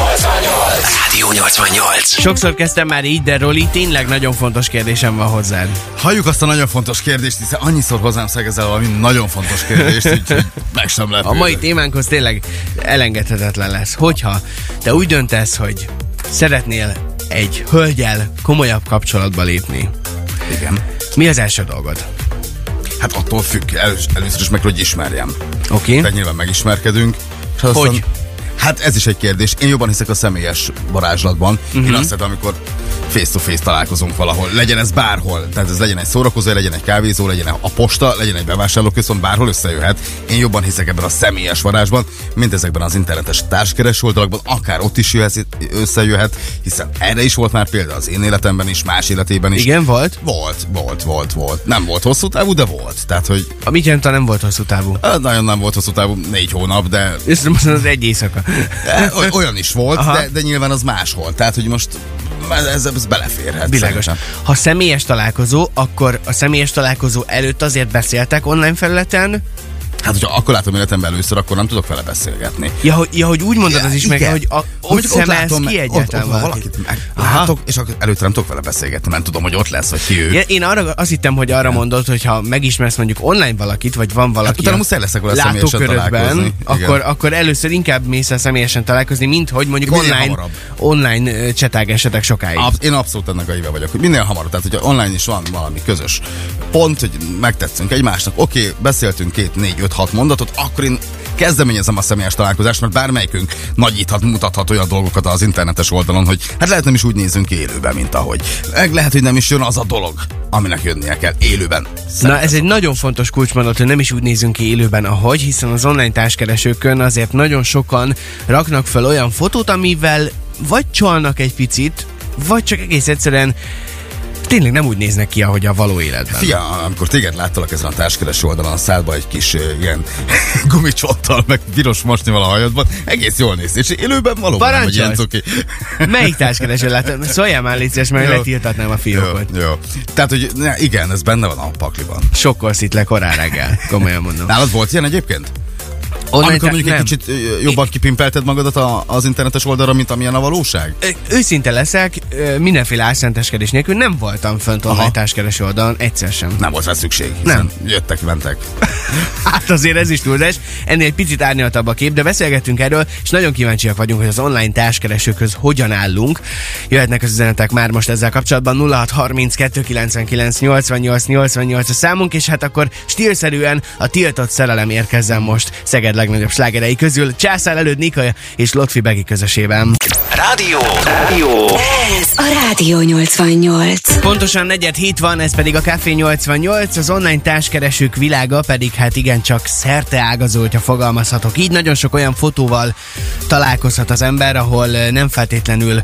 88! Rádió 88! Sokszor kezdtem már így, de Roli, tényleg nagyon fontos kérdésem van hozzád. Halljuk azt a nagyon fontos kérdést, hiszen annyiszor hozzám szegezel valami nagyon fontos kérdést, úgyhogy meg sem A lepődök. mai témánkhoz tényleg elengedhetetlen lesz. Hogyha te úgy döntesz, hogy szeretnél egy hölgyel komolyabb kapcsolatba lépni, Igen. mi az első dolgod? Hát attól függ, el, először is meg kell, hogy ismerjem. Oké? Tehát nyilván megismerkedünk. És aztán, Hogy? Hát ez is egy kérdés. Én jobban hiszek a személyes varázslatban. Mhm. Uh-huh. Én azt szeretem, amikor face-to-face találkozunk valahol. Legyen ez bárhol. Tehát ez legyen egy szórakozó, legyen egy kávézó, legyen a posta, legyen egy bevásárlóközpont, bárhol összejöhet. Én jobban hiszek ebben a személyes varázsban, mint ezekben az internetes társkeres oldalakban, akár ott is jöhet, összejöhet, hiszen erre is volt már példa az én életemben is, más életében is. Igen, volt? Volt, volt, volt, volt. Nem volt hosszú távú, de volt. Tehát, hogy A mit jelent, ha nem volt hosszú távú? Hát Nagyon nem volt hosszú távú, négy hónap, de Ezt nem mondod, az egy éjszaka. de oly- olyan is volt, Aha. de, de nyilván az máshol. Tehát, hogy most ez, ez beleférhet. Világos. szerintem. Ha személyes találkozó, akkor a személyes találkozó előtt azért beszéltek online felületen, Hát, hogyha akkor látom életemben először, akkor nem tudok vele beszélgetni. Ja, hogy, ja, hogy úgy mondod az is meg, Igen. hogy a, Ha úgy mondjuk ott szemelsz látom, ki ott, ott egyáltalán van valakit. valakit, meg Aha. látok, és akkor előtte nem tudok vele beszélgetni, mert tudom, hogy ott lesz, vagy ki ő. Ja, én arra azt hittem, hogy arra mondod, hogy ha megismersz mondjuk online valakit, vagy van valaki Hát utána a muszáj leszek vele személyesen látókörödben, találkozni. Igen. akkor, akkor először inkább mész el személyesen találkozni, mint hogy mondjuk Minél online, hamarabb. online ö, csetágesetek sokáig. Absz- én abszolút ennek a híve vagyok, hogy minél hamarabb, tehát hogyha online is van valami közös pont, hogy megtetszünk egymásnak, oké, okay, beszéltünk két, négy, öt, hat mondatot, akkor én kezdeményezem a személyes találkozást, mert bármelyikünk nagyíthat, mutathat olyan dolgokat az internetes oldalon, hogy hát lehet nem is úgy nézünk ki élőben, mint ahogy. Meg lehet, hogy nem is jön az a dolog, aminek jönnie kell élőben. Na, ez egy nagyon fontos kulcsmondat, hogy nem is úgy nézünk ki élőben, ahogy, hiszen az online társkeresőkön azért nagyon sokan raknak fel olyan fotót, amivel vagy csalnak egy picit, vagy csak egész egyszerűen tényleg nem úgy néznek ki, ahogy a való életben. Fia, amikor téged láttalak ezen a társkereső oldalon, a szádba egy kis ö, ilyen gumicsottal, meg piros masnival a hajadban, egész jól néz. ki. És élőben valóban nem, hogy Parancsolj! ilyen cuki. Melyik társkereső lett? Szóljál már légy szíves, mert Jó. letiltatnám a Jó, fiókot. jó. Tehát, hogy ne, igen, ez benne van a pakliban. Sokkor le korán reggel, komolyan mondom. Nálad volt ilyen egyébként? Online Amikor tá- mondjuk nem. egy kicsit ö, jobban kipimpelted magadat a, az internetes oldalra, mint amilyen a valóság? Ö, Őszinte leszek, ö, mindenféle álszenteskedés nélkül nem voltam fönt online Aha. társkereső oldalon, egyszer sem. Nem volt rá szükség. Nem. hiszen Jöttek, mentek. Hát azért ez is túlzás, ennél egy picit árnyaltabb a kép, de beszélgettünk erről, és nagyon kíváncsiak vagyunk, hogy az online társkeresőkhöz hogyan állunk. Jöhetnek az üzenetek már most ezzel kapcsolatban 0632 99 88 88 a számunk, és hát akkor stílszerűen a tiltott szerelem érkezzen most Szeged legnagyobb slágerei közül, Császár előtt Nika és Lotfi Begi közösében. Rádió! Rádió! Ez a Rádió 88. Pontosan negyed hét van, ez pedig a Café 88, az online társkeresők világa pedig hát igencsak szerte ágazó, hogyha fogalmazhatok. Így nagyon sok olyan fotóval találkozhat az ember, ahol eh, nem feltétlenül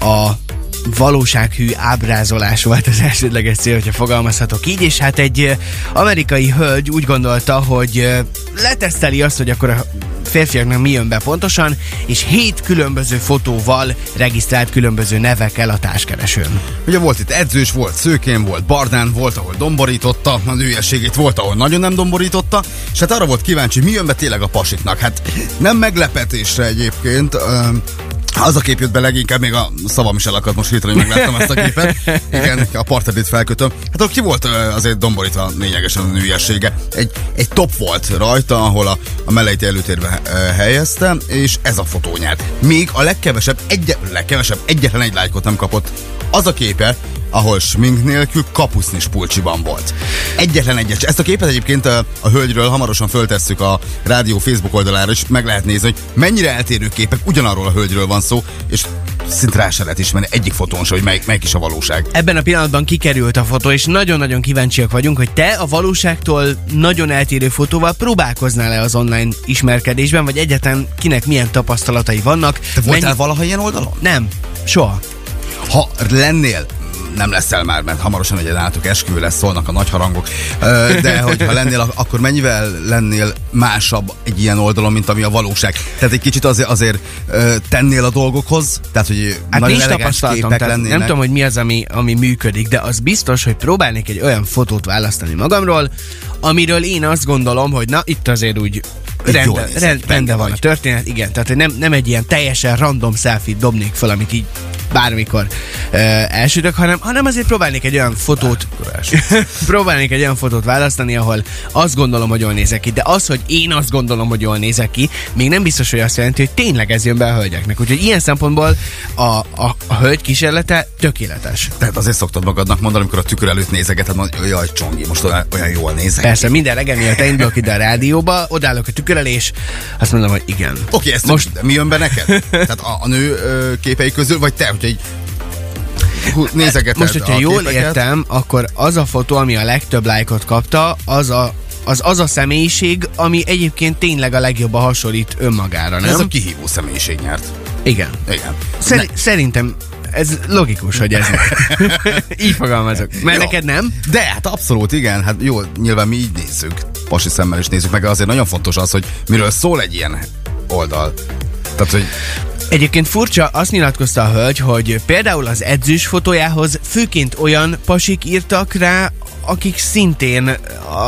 a valósághű ábrázolás volt az elsődleges cél, hogyha fogalmazhatok így, és hát egy eh, amerikai hölgy úgy gondolta, hogy eh, leteszteli azt, hogy akkor a férfiaknak mi jön be pontosan, és hét különböző fotóval regisztrált különböző nevekkel a társkeresőn. Ugye volt itt edzős, volt szőkén, volt bardán, volt, ahol domborította a nőiességét, volt, ahol nagyon nem domborította, és hát arra volt kíváncsi, mi jön be tényleg a pasiknak. Hát nem meglepetésre egyébként, öm, az a kép jött be leginkább, még a szavam is elakadt most hirtelen, hogy megláttam ezt a képet. Igen, a partedét felkötöm. Hát ott ki volt ö, azért domborítva lényegesen a nőiessége. Egy, egy top volt rajta, ahol a, a melleit előtérbe ö, helyezte, és ez a fotó nyert. Még a legkevesebb, egy, legkevesebb egyetlen egy lájkot nem kapott az a képe, ahol smink nélkül kapusznis pulcsiban volt. Egyetlen egyes. Ezt a képet egyébként a, a hölgyről hamarosan föltesszük a rádió Facebook oldalára, és meg lehet nézni, hogy mennyire eltérő képek, ugyanarról a hölgyről van szó, és szinte rá se lehet ismerni egyik fotón se, hogy melyik, melyik is a valóság. Ebben a pillanatban kikerült a fotó, és nagyon-nagyon kíváncsiak vagyunk, hogy te a valóságtól nagyon eltérő fotóval próbálkoznál le az online ismerkedésben, vagy egyetem kinek milyen tapasztalatai vannak. Te voltál Mennyi- valaha ilyen oldalon? Nem, soha. Ha lennél, nem leszel már, mert hamarosan egy nálatok esküvő lesz, szólnak a nagy harangok. Ö, De hogyha lennél, ak- akkor mennyivel lennél másabb egy ilyen oldalon, mint ami a valóság? Tehát egy kicsit azért, azért ö, tennél a dolgokhoz? Tehát, hogy Hát nagyon nincs elegáns tapasztalatom, képek tehát nem lennének? tudom, hogy mi az, ami, ami működik, de az biztos, hogy próbálnék egy olyan fotót választani magamról, amiről én azt gondolom, hogy na, itt azért úgy így rende, jól rende, nézett, rende, benne van a vagy. történet, igen. Tehát hogy nem, nem egy ilyen teljesen random selfie dobnék fel, amit így bármikor ö, elsütök, hanem, hanem azért próbálnék egy olyan fotót próbálnék egy olyan fotót választani, ahol azt gondolom, hogy jól nézek ki, de az, hogy én azt gondolom, hogy jól nézek ki, még nem biztos, hogy azt jelenti, hogy tényleg ez jön be a hölgyeknek. Úgyhogy ilyen szempontból a, a, a hölgy kísérlete tökéletes. Tehát azért szoktad magadnak mondani, amikor a tükör előtt nézegeted, mondod, hogy jaj, Csongi, most olyan, olyan jól nézek. ki." Persze, minden reggel miatt indulok ide a rádióba, odállok a tükör elé, és azt mondom, hogy igen. Oké, ezt most Most- de mi jön be neked? Tehát a, a nő ö, képei közül, vagy te, hogy egy nézegeted Most, hogyha a jól képeket. értem, akkor az a fotó, ami a legtöbb lájkot kapta, az a, az, az a személyiség, ami egyébként tényleg a legjobban hasonlít önmagára, nem? Ez a kihívó személyiség nyert. Igen. Igen. Szer- szerintem ez logikus, hogy ez. Így fogalmazok. Mert Jó. neked nem? De hát abszolút igen, hát jó, nyilván mi így nézzük, pasi szemmel is nézzük, meg azért nagyon fontos az, hogy miről szól egy ilyen oldal. Tehát, hogy Egyébként furcsa, azt nyilatkozta a hölgy, hogy például az edzős fotójához főként olyan pasik írtak rá, akik szintén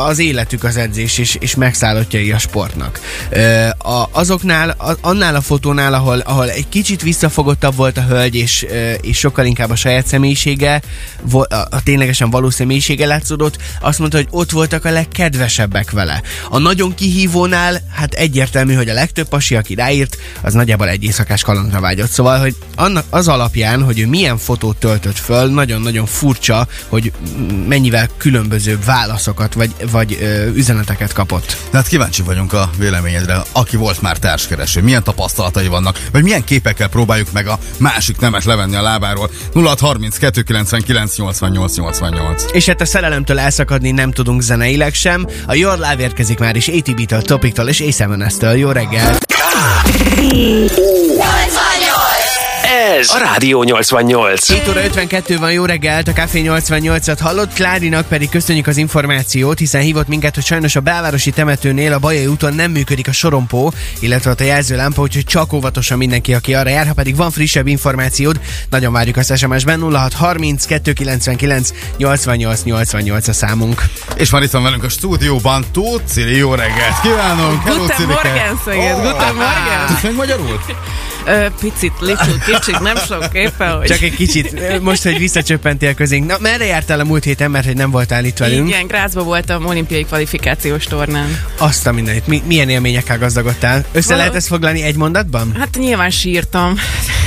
az életük az edzés és, és megszállottjai a sportnak. Ö, a, azoknál, a, annál a fotónál, ahol, ahol egy kicsit visszafogottabb volt a hölgy, és, ö, és sokkal inkább a saját személyisége, vo- a, a ténylegesen való személyisége látszódott, azt mondta, hogy ott voltak a legkedvesebbek vele. A nagyon kihívónál, hát egyértelmű, hogy a legtöbb pasi, aki ráírt, az nagyjából egy éjszakás kalandra vágyott. Szóval, hogy annak az alapján, hogy ő milyen fotót töltött föl, nagyon-nagyon furcsa, hogy m- mennyivel különbözőbb válaszokat vagy, vagy ö, üzeneteket kapott. de hát kíváncsi vagyunk a véleményedre, aki volt már társkereső, milyen tapasztalatai vannak, vagy milyen képekkel próbáljuk meg a másik nemet levenni a lábáról. 0632 99 88 88. És hát a szerelemtől elszakadni nem tudunk zeneileg sem. A Your Love érkezik már is ATB-től, Topiktól és Ace Jó reggel! Ez a Rádió 88. 7 óra 52 van, jó reggelt, a Café 88-at hallott, Klárinak pedig köszönjük az információt, hiszen hívott minket, hogy sajnos a belvárosi temetőnél a Bajai úton nem működik a sorompó, illetve ott a jelzőlámpa, úgyhogy csak óvatosan mindenki, aki arra jár, ha pedig van frissebb információd, nagyon várjuk az SMS-ben 0630 299 88 88 a számunk. És már itt van velünk a stúdióban Tóth Cili, jó reggelt kívánunk! Hello, Guten Cilike! Morgen, Szeged, Ó, hát, Guten Morgen! Tudsz még magyarul? Ö, picit, little, kicsit, nem sok éppen, hogy... Csak egy kicsit, most, hogy visszacsöppentél közénk. Na, merre jártál a múlt héten, mert hogy nem voltál itt velünk? Igen, Grázba voltam olimpiai kvalifikációs tornán. Azt a mindenit. Mi, milyen élményekkel gazdagodtál? Össze Val- lehet ezt foglalni egy mondatban? Hát nyilván sírtam,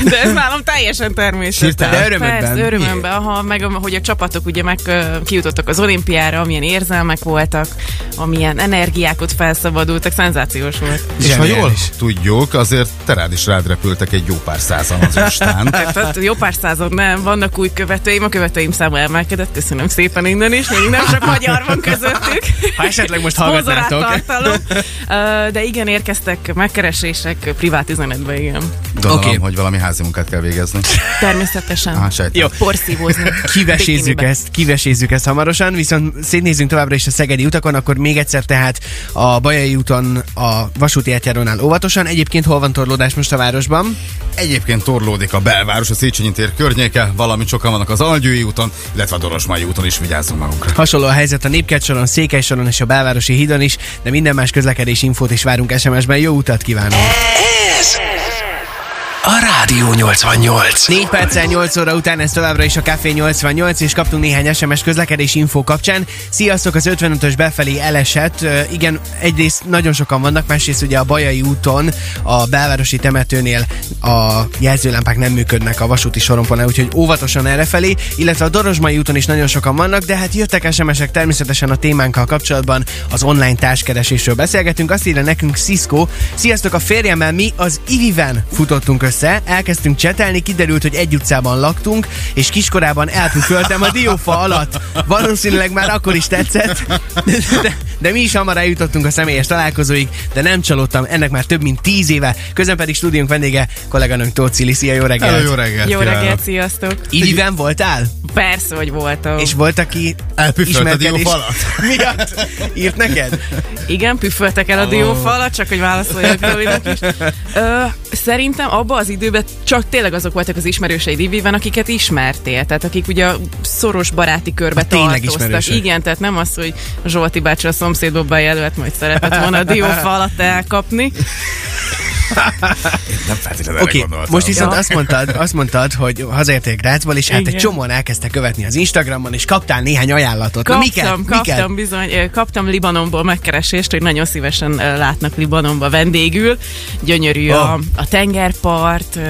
de ez nálam teljesen természetes. Sírtál? De örömödben? Persze, örömömben, aha, meg a- hogy a csapatok ugye meg ö, kijutottak az olimpiára, amilyen érzelmek voltak, amilyen energiákot felszabadultak, szenzációs volt. És ha jól Zseniális. tudjuk, azért te rád is rád repültek egy jó pár százan az ostán. Tehát jó pár század nem, vannak új követőim, a követőim száma emelkedett, köszönöm szépen innen is, még nem csak magyar van közöttük. Ha esetleg most Szponzorált hallgatnátok. tartalom. Ö, De igen, érkeztek megkeresések privát üzenetbe, igen. Gondolom, Oké. okay. hogy valami házi munkát kell végezni. Természetesen. Á, sejtem. Jó. Porszívózni. Kivesézzük Bikinibe. ezt, kivesézzük ezt hamarosan, viszont szétnézzünk továbbra is a szegedi utakon, akkor még egyszer tehát a Bajai úton a vasúti átjárónál óvatosan. Egyébként hol van torlódás most a városban? Egyébként torlódik a belváros, a Széchenyi tér környéke, valamint sokan vannak az Algyői úton, illetve a Dorosmai úton is vigyázzunk magunkra. Hasonló a helyzet a Népkert soron, Székely soron és a Belvárosi hídon is, de minden más közlekedés infót is várunk SMS-ben. Jó utat kívánunk! Ez a Rádió 88. 4 perccel 8 óra után ez továbbra is a Café 88, és kaptunk néhány SMS közlekedés info kapcsán. Sziasztok, az 55-ös befelé elesett. Ö, igen, egyrészt nagyon sokan vannak, másrészt ugye a Bajai úton, a belvárosi temetőnél a jelzőlámpák nem működnek a vasúti soromponál, úgyhogy óvatosan errefelé, illetve a Dorozsmai úton is nagyon sokan vannak, de hát jöttek SMS-ek természetesen a témánkkal kapcsolatban, az online társkeresésről beszélgetünk. Azt írja nekünk Cisco, sziasztok, a férjemmel mi az Iviven futottunk össze, elkezdtünk csetelni, kiderült, hogy egy utcában laktunk, és kiskorában elpüföltem a diófa alatt. Valószínűleg már akkor is tetszett, de, de mi is hamar eljutottunk a személyes találkozóig, de nem csalódtam, ennek már több mint tíz éve. Közben pedig stúdiónk vendége, kolléganőnk Tóth Cili, szia, jó Hello, reggelt! jó reggelt! Jó kívánok! reggelt, sziasztok! Iviven voltál? Persze, hogy voltam. És volt, aki Elpüfölt a ismerkedés diófalat? miatt írt neked? Igen, püföltek el a diófalat, csak hogy válaszoljak röviden is. Ö, szerintem abban az időben csak tényleg azok voltak az ismerőseid Ibiben, akiket ismertél, tehát akik ugye a szoros baráti A körbe Hát tényleg tartoztak. ismerősök. Igen, tehát nem az, hogy Zsolti bácsi a szomszédobban jelölt, majd szeretett volna a diófa alatt elkapni. Nem feltétlenül erre Oké, gondoltam. most viszont Ja. azt mondtad, azt mondtad, hogy hazaértél Grácsból, és hát Igen. egy csomóan elkezdte követni az Instagramon, és kaptál néhány ajánlatot. Na, Kaptam, miket? kaptam Miket? bizony, ö, kaptam Libanonból megkeresést, hogy nagyon szívesen ö, látnak Libanonba vendégül. Gyönyörű oh. a, Oh. a tengerpart, ö,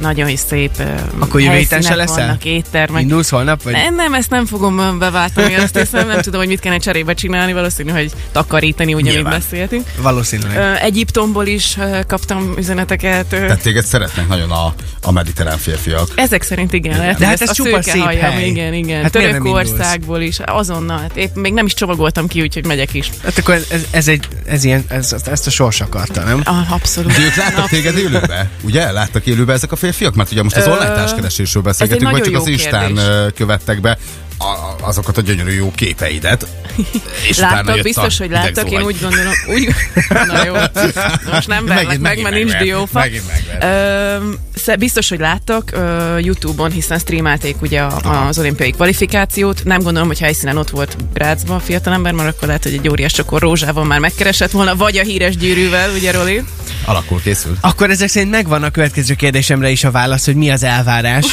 nagyon is szép ö, Akkor jövő héten helyszínek se leszel? vannak, éttermek. Indulsz holnap? Vagy? Nem, nem, ezt nem fogom ö, beváltani, azt hiszem, nem tudom, hogy mit kellene cserébe csinálni, valószínű, hogy takarítani, ugye, amit Nyilván. beszéltünk. Valószínűleg. Ö, Egyiptomból is ö, kaptam üzeneteket. ö, Tehát téged szeretnek nagyon a, a mediterrán férfiak. Ezek szerint igen, lehet, De hogy hát ez a csupa szőke szép hajam, hely. igen, igen. Hát miért nem Törökországból is, azonnal. Hát Épp még nem is csomagoltam ki, úgyhogy megyek is. Hát akkor ez, ez, ez egy, ez ilyen, ez, ezt a sors akarta, nem? Ah, abszolút. De ők láttak téged élőbe? Ugye? Láttak élőbe ezek a férfiak? Mert ugye most az Ö, online társkeresésről beszélgetünk, vagy nagyon csak az jó Instán kérdés. ö, követtek be a- a- azokat a gyönyörű jó képeidet. És utána jött Láttak, a biztos, hogy hideg láttak, én zuhany. úgy gondolom, úgy, na jó, most nem verlek Megint- meg, megint mert nincs megvert, diófa. megint megvert. Öm, sze- biztos, hogy láttak ö, Youtube-on, hiszen streamelték ugye a, az olimpiai kvalifikációt. Nem gondolom, hogy helyszínen ott volt Grácsban a fiatalember, mert akkor lehet, hogy egy óriás csokor rózsával már megkeresett volna, vagy a híres gyűrűvel, ugye Roli? Alakul készült. Akkor ezek szerint megvan a következő kérdésemre is a válasz, hogy mi az elvárás.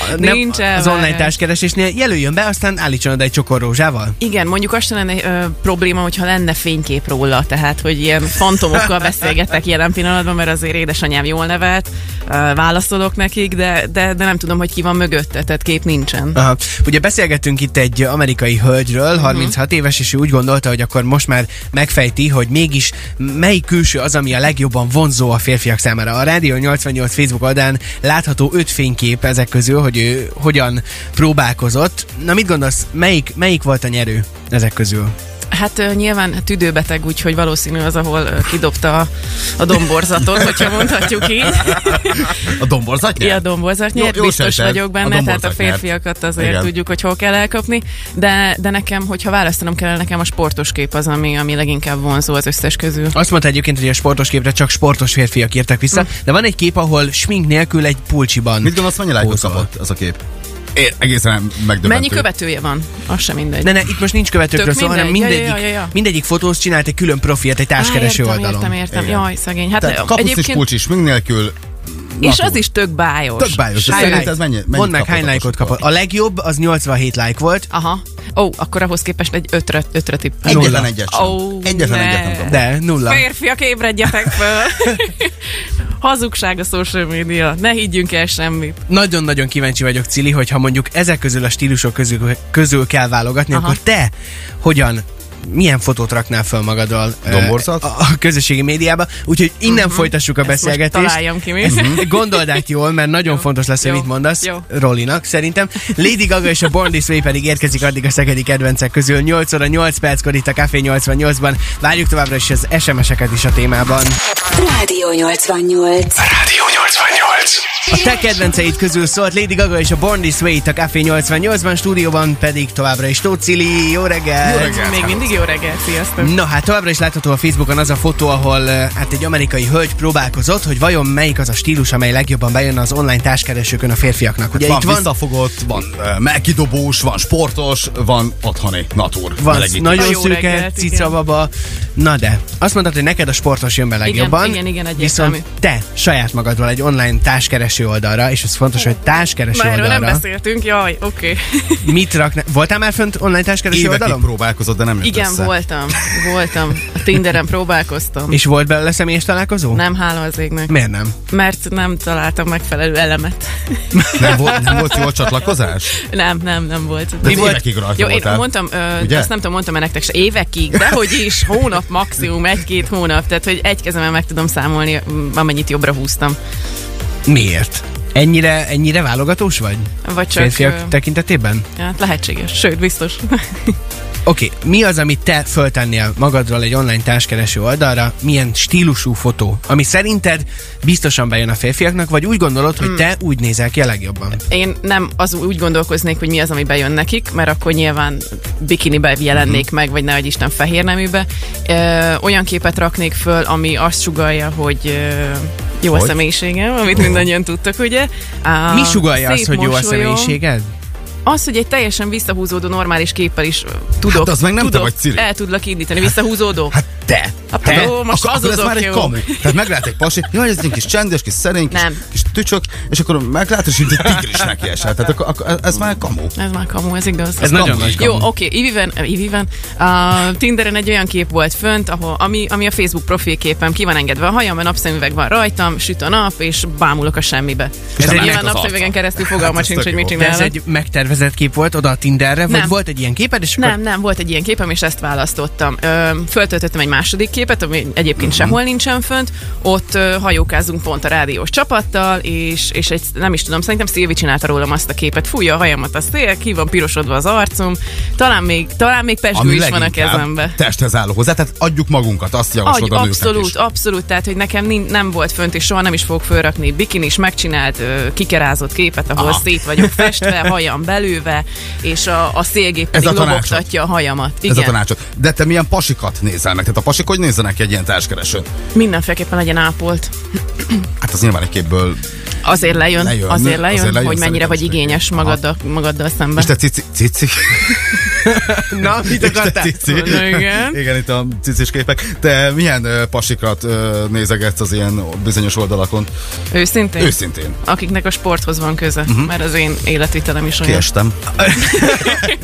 A- Nincs Az elvárás. online társkeresésnél jelöljön be, aztán állítson oda egy csokor rózsával. Igen, mondjuk azt sem lenne ö, probléma, hogyha lenne fénykép róla, tehát hogy ilyen fantomokkal beszélgetek jelen pillanatban, mert azért édesanyám jól nevelt, ö, válaszolok nekik, de, de, de nem tudom, hogy ki van mögötte, tehát kép nincsen. Aha. Ugye beszélgettünk itt egy amerikai hölgyről, Mhm. 36 éves, és ő úgy gondolta, hogy akkor most már megfejti, hogy mégis melyik külső az, ami a legjobban vonzó a férfiak számára. A Rádió 88 Facebook oldalán látható öt fénykép ezek közül, hogy ő hogyan próbálkozott. Na mit gondolsz, melyik, melyik volt a nyerő ezek közül? Hát ö, nyilván tüdőbeteg, úgyhogy valószínű az, ahol ö, kidobta a, a domborzatot, hogyha mondhatjuk így. A domborzat Ja, nyert? domborzat Jó- nyert, jó biztos sejted, vagyok a benne, domborzat tehát a nyert. férfiakat azért Igen. Igen. tudjuk, hogy hol kell elkapni, de, de nekem, hogyha választanom kellene, nekem a sportos kép az, ami, ami leginkább vonzó az összes közül. Azt mondta egyébként, hogy a sportos képre csak sportos férfiak írtak vissza, de van egy kép, ahol smink nélkül egy pulcsiban. Mhm. Mit gondolsz, mennyi lájkot Pózol. kapott az a kép? Én egészen megdöbbentő. Mennyi követője van? Az sem mindegy. Ne, ne, itt most nincs követőkről Tök szó, hanem mindegy. Ja, ja, mindegyik, ja, ja. mindegyik fotóz csinált egy külön profilt egy társkereső Á, értem, oldalon. Értem, értem, Igen. értem. Jaj, szegény. Hát Tehát ö, kapusz és kulcs is, mink nélkül. és Lapú. az is tök bájos. Tök bájos, de Hány szerintem like? ez mennyi? mennyit Mondd meg, kapott hány a lájkot kosokból? kapott. A legjobb az 87 like volt, Aha. Ó, akkor ahhoz képest egy ötre, ötre tippel. Nulla. Egyetlen egyet sem. Ó, Egyetlen ne. egyet nem kapott. de nulla. Férfiak, ébredjetek föl! Hazugság a social media. Ne higgyünk el semmit. Nagyon-nagyon kíváncsi vagyok, Cili, hogy ha mondjuk ezek közül a stílusok közül, közül kell válogatni, Aha. akkor te hogyan milyen fotót raknál föl magadról ö, Domborzat? a, a közösségi médiába, úgyhogy innen folytassuk a Mhm. Ezt most beszélgetést. találjam ki mi. Mhm. Ezt Uh-huh. Gondold át jól, mert nagyon fontos lesz, hogy jó, mit mondasz jó. Rolinak, szerintem. Lady Gaga és a Born This Way pedig érkezik addig a szegedi kedvencek közül. 8 óra 8 perckor itt a Café 88-ban. Várjuk továbbra is az SMS-eket is a témában. Rádió 88. Rádió 88. A te kedvenceid közül szólt Lady Gaga és a Born This Way itt a Café 88-ban, stúdióban pedig továbbra is Tóth Cili. Jó reggelt! Jó reggelt. Még mindig jó reggelt, sziasztok! Na hát továbbra is látható a Facebookon az a fotó, ahol eh, hát egy amerikai hölgy próbálkozott, hogy vajon melyik az a stílus, amely legjobban bejön az online társkeresőkön a férfiaknak. Ugye Ugye van, itt van van visszafogott, van uh, melkidobós, van sportos, van otthoni natur. Van Melegítő. nagyon Jó szürke, reggelt, igen. cicababa. Na de, azt mondtad, hogy neked a sportos jön be legjobban. igen, igen, egyértelmű. Viszont te saját magadról egy online társkereső oldalra, és ez fontos, hogy társkereső Már erről nem oldalra. beszéltünk, jaj, oké. Mit raknál? Voltál már fönt online társkereső Évekig oldalon? próbálkozott, de nem jött Igen, össze. voltam, voltam. A Tinderen próbálkoztam. És volt belőle személyes találkozó? Nem, hála az égnek. Miért nem? Mert nem találtam megfelelő elemet. Nem volt, nem volt jó a csatlakozás? Nem, nem, nem volt. De az évekig rajta Jó, én voltál. mondtam, ö, Ugye? azt nem tudom, mondtam-e nektek se évekig, de hogy is, hónap maximum, egy-két hónap, tehát hogy egy kezemben meg tudom számolni, m, amennyit jobbra húztam. Miért? Ennyire, ennyire válogatós vagy? Vagy csak... Férfiak ö, tekintetében? hát lehetséges, sőt, biztos. Oké, okay, mi az, amit te föltennél magadról egy online társkereső oldalra? Milyen stílusú fotó? Ami szerinted biztosan bejön a férfiaknak, vagy úgy gondolod, Hmm. hogy te úgy nézel ki a legjobban? Én nem az úgy gondolkoznék, hogy mi az, ami bejön nekik, mert akkor nyilván bikinibe jelennék Mhm. mm-hmm. meg, vagy nehogy Isten fehér neműbe. Ö, olyan képet raknék föl, ami azt sugalja, hogy ö, jó hogy? a Hogy? személyiségem, amit mindannyian tudtak, ugye? Á, Mi sugalja azt, szép hogy jó a mosolyom. személyiséged? Az, hogy egy teljesen visszahúzódó normális képpel is ö, tudok, Hát az meg nem te tudok, vagy, Ciri. el tudlak indítani, visszahúzódó. Hát te! A te? pró, most akkor, akkor ez hazudok, már egy jó. kamu. Tehát meglát egy pasi, jaj, ez egy kis csendes, kis szerény, kis, Nem. kis tücsök, és akkor meglát, és így egy tigris neki esel. Tehát akkor, akkor ez már kamu. Ez már kamu, ez igaz. Ez kamu. nagyon nagy kamu. Jó, oké, okay, Iviven, eh, Iviven, uh, Tinderen egy olyan kép volt fönt, ahol, ami, ami a Facebook profilképem, ki van engedve a hajam, a napszemüveg van rajtam, süt a nap, és bámulok a semmibe. És Ez nem egy ennek ilyen az napszemüvegen arca. keresztül fogalma Hát ez sincs, tök hogy mit jó. De ez csinálok. egy megtervezett kép volt oda a Tinderre, vagy Nem. volt egy ilyen képed, és akkor Nem, nem, volt egy ilyen képem, és ezt választottam. Ö, föltöltöttem egy második képet, ami Mhm. egyébként sehol nincsen fönt. Ott ö, hajókázunk pont a rádiós csapattal, és, és egy, nem is tudom, szerintem Szilvi csinálta rólam azt a képet. Fújja a hajamat a szél, ki van pirosodva az arcom. Talán még, talán még pesgő is van a leginkább kezembe. testhez álló hozzá, tehát adjuk magunkat, azt Agy, javaslod a nőknek abszolút, is. abszolút, tehát hogy nekem nin- nem volt fönt, és soha nem is fogok fölrakni bikinis, megcsinált, ö, kikerázott képet, ahol Aha. szét vagyok festve, hajam belőve, és a, a szélgép Ez pedig a tanácsod. lobogtatja a hajamat. Igen. Ez a tanácsod. De te milyen pasikat nézel meg? Tehát a pasik hogy nézzenek ki egy ilyen társkeresőn? Mindenféleképpen legyen ápolt. Hát az nyilván egy képből. Azért lejön, Lejön, lejön, azért, azért lejön azért lejön, lejön, hogy mennyire szerintem vagy is igényes lejön. magaddal, magaddal szemben. És te cici, cici, Na, mit és te akartál? cici. Na, igen. igen, itt a cicis képek. Te milyen ö, pasikat ö, nézegetsz az ilyen bizonyos oldalakon? Őszintén? Őszintén. Mhm. Akiknek a sporthoz van köze, uh-huh. mert az én életvitelem is olyan. Kiestem. Hát,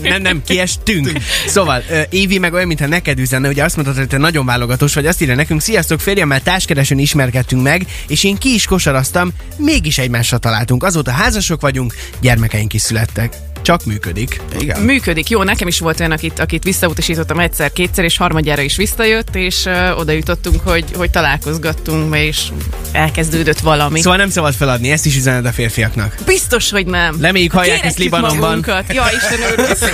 Nem, nem, kiestünk. Szóval, ö, Évi meg olyan, mintha neked üzenne, ugye azt mondtad, hogy te nagyon válogatós vagy, azt írja nekünk, sziasztok, férjemmel társkeresőn ismerkedtünk meg, és én ki is kosaraztam, mégis egymásra találtunk. Azóta házasok vagyunk, gyermekeink is születtek. Csak működik. Igen. Működik, jó, nekem is volt olyan, akit, akit visszautasítottam egyszer, kétszer, és harmadjára is visszajött, és uh, oda jutottunk, hogy, hogy találkozgattunk, és elkezdődött valami. Szóval Szóval nem szabad feladni, ezt is üzened a férfiaknak. Biztos, hogy nem. Reméljük, hallják Kéretjük ezt Libanonban. Magunkat. Ja, Isten őriz.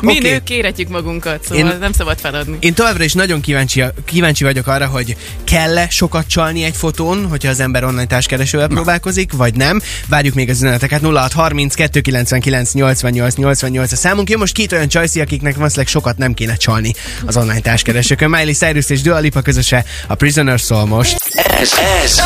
Mi Oké. okay. nők kéretjük magunkat, szóval Én- Én... nem szabad feladni. Én továbbra is nagyon kíváncsi, kíváncsi vagyok arra, hogy kell-e sokat csalni egy fotón, hogyha az ember online társkeresővel próbálkozik, vagy nem. Várjuk még az üzeneteket. 0630 299 88 88 a számunk. Jön most két olyan csajszi, akiknek valószínűleg sokat nem kéne csalni az online társkeresőkön. Miley Cyrus és Dua Lipa közöse a Prisoner Soul most. Ez, ez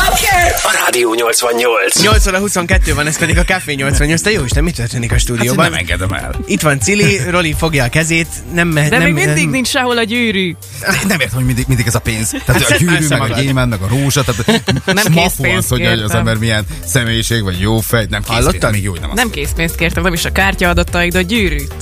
a Rádió 88. 8 óra 22 van, ez pedig a Café 88. Te jó Isten, mi történik a Hát én stúdióban? nem engedem el. Itt van Cili, Roli fogja a kezét, nem mehet. De nem, nem, még mindig nem- nincs sehol a gyűrű. Nem értem, hogy mindig, mindig ez a pénz. Tehát a szedd gyűrű, össze meg a magad. gyémánt, meg a rózsa, tehát Nem smafu készpénz, az, hogy az kértem. ember milyen személyiség, vagy jó fej, nem készpénz, Hallottad? még jó, hogy nem, Nem készpénzt kértem, nem is a kártyaadataig, de a gyűrűt.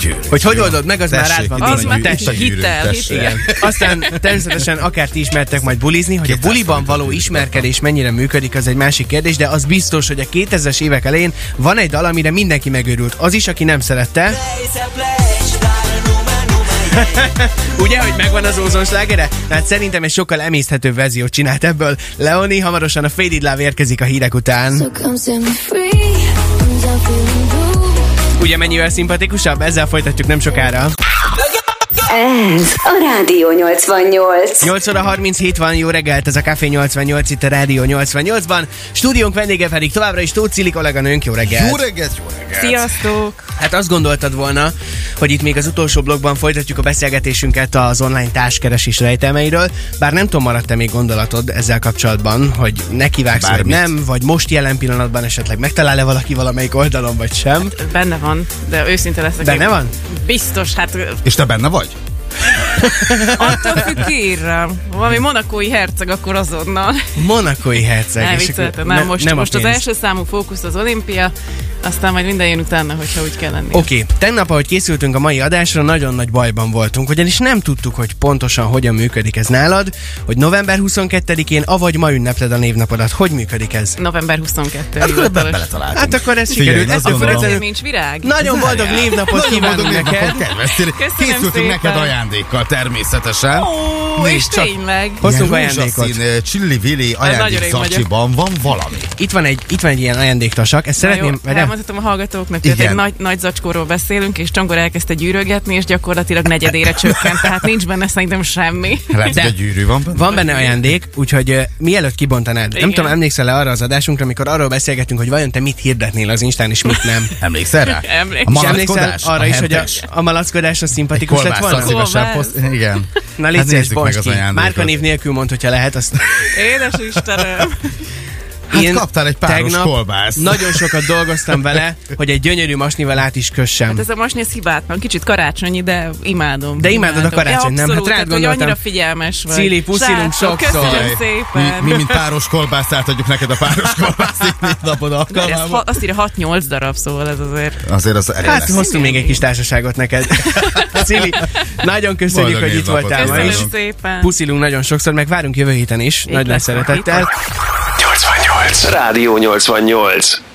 gyűrű. Hogy hogy oldod meg, az már rád van. itt benne. van a gyűrű. Tessék. tessék. Hitel, Igen. Aztán természetesen akár ti ismertek majd bulizni, hogy a 200 buliban való ismerkedés mennyire működik, az egy másik kérdés, de az biztos, hogy a 2000-es évek elején van egy dal, amire mindenki megőrült. Az is, aki nem szerette. Ugye, hogy megvan az ózon slágere? Tehát szerintem egy sokkal emészthetőbb verziót csinált ebből. Leoni hamarosan a Faded Love érkezik a hírek után. So come set me free. I'm down feeling blue. Ugye mennyivel szimpatikusabb? Ezzel folytatjuk nem sokára. Ez a Rádió 88. 8 óra 37 van, jó reggelt, ez a Café 88, itt a Rádió 88-ban. Stúdiónk vendége pedig továbbra is Tóth Cili kolléganőnk, jó reggelt. Jó reggelt, jó reggelt. Sziasztok! Hát azt gondoltad volna, hogy itt még az utolsó blogban folytatjuk a beszélgetésünket az online társkeresés rejtelmeiről, bár nem tudom, maradt-e még gondolatod ezzel kapcsolatban, hogy nekivágsz, vagy Bármit. nem, vagy most jelen pillanatban esetleg megtalál-e valaki valamelyik oldalon, vagy sem. Benne van, de őszinte leszek. Benne én- van? Biztos, hát És te benne vagy? attól függ kérem. Valami monakói herceg akkor azonnal. Monakói herceg. Nem és vicceltem, akkor nem, ne- most, nem a most az pénz. első számú fókusz az olimpia, aztán majd minden jön utána, hogyha úgy kell lenni. Oké, okay. tegnap, ahogy készültünk a mai adásra, nagyon nagy bajban voltunk, ugyanis nem tudtuk, hogy pontosan hogyan működik ez nálad, hogy november 22-én, avagy ma ünnepled a névnapodat. Hogy működik ez? November 22. Hát akkor ebben hivatalos. beletaláltunk. Hát akkor ez Figyelj, sikerült. én azt Ettől gondolom- Azért függetlenül nincs virág? Nagyon boldog névnapot Nagyon kívánunk boldog névnapot, neked. kedves Ciri. Köszönöm Készültünk szépen. neked ajándékkal. természetesen. Ó, Még és csak tényleg. Hoztunk Ilyen ajándékot. rózsaszín, ö, Csillivilli ajándék nagyon rég vagyok. zacsiban van valami. Itt van egy, itt van egy ilyen ajándéktasak, ezt szeretném... Na jó, vagy nem? elmondhatom a hallgatóknak, hogy Igen. egy nagy, nagy zacskóról beszélünk, és Csongor elkezdte gyűrögetni, és gyakorlatilag negyedére csökkent, tehát nincs benne szerintem semmi. Lehet, hogy De- a gyűrű van benne. Van benne ajándék, úgyhogy uh, mielőtt kibontanád, Igen. nem tudom, emlékszel-e arra az adásunkra, amikor arról beszélgettünk, hogy vajon te mit hirdetnél az Instán, és mit nem. Emlékszel rá? Emlékszem. A És emlékszel malackodás? arra is, hogy a, hentes? a malackodás az szimpatikus lett Kolbász, volna? a szívesen Kolbász. poszt... Igen. Hát Na légy szíves, nézzük meg bontsd az ki. Márka név ajándékot. nélkül mond, hogyha lehet, azt... Édes Istenem! Hát kaptál egy páros kolbászt. Nagyon sokat dolgoztam vele, hogy egy gyönyörű masnival át is kössem. Hát Ez a most ez hibátlan, kicsit karácsonyi, de imádom. De imádod a karácsony, nem? Hát abszolút, rád tehát, hogy gondoltam. annyira figyelmes vagy. Cili, puszilunk Srácok, sokszor. Köszönöm szépen. Mi, mi, mint páros kolbászt átadjuk neked a páros kolbászt így napod De ez, alkalmából. fa- azt írja 6-8 darab, szóval ez azért. Azért az elég Hát lesz. hoztunk még egy kis társaságot neked. Cili, nagyon köszönjük, Boldog hogy itt névnapot voltál ma Köszönöm is. kívánok. szépen. Puszilunk nagyon sokszor, meg várunk jövő héten is. Nagy lesz. nagy szeretettel. 88. Rádió 88.